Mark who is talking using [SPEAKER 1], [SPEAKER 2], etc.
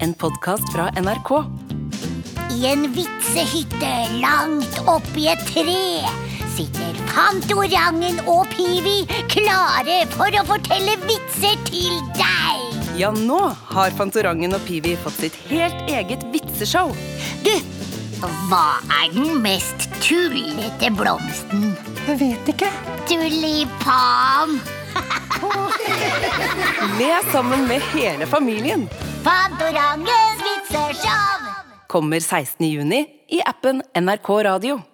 [SPEAKER 1] En podkast fra NRK.
[SPEAKER 2] I en vitsehytte langt oppi et tre sitter Fantorangen og Pivi klare for å fortelle vitser til deg.
[SPEAKER 1] Ja, nå har Fantorangen og Pivi fått sitt helt eget vitseshow.
[SPEAKER 2] Du, hva er den mest tullete blomsten?
[SPEAKER 1] Jeg vet ikke.
[SPEAKER 2] Tulipan.
[SPEAKER 1] Le sammen med hele familien.
[SPEAKER 2] Fantorangens vitseshow.
[SPEAKER 1] Kommer 16. juni i appen NRK Radio.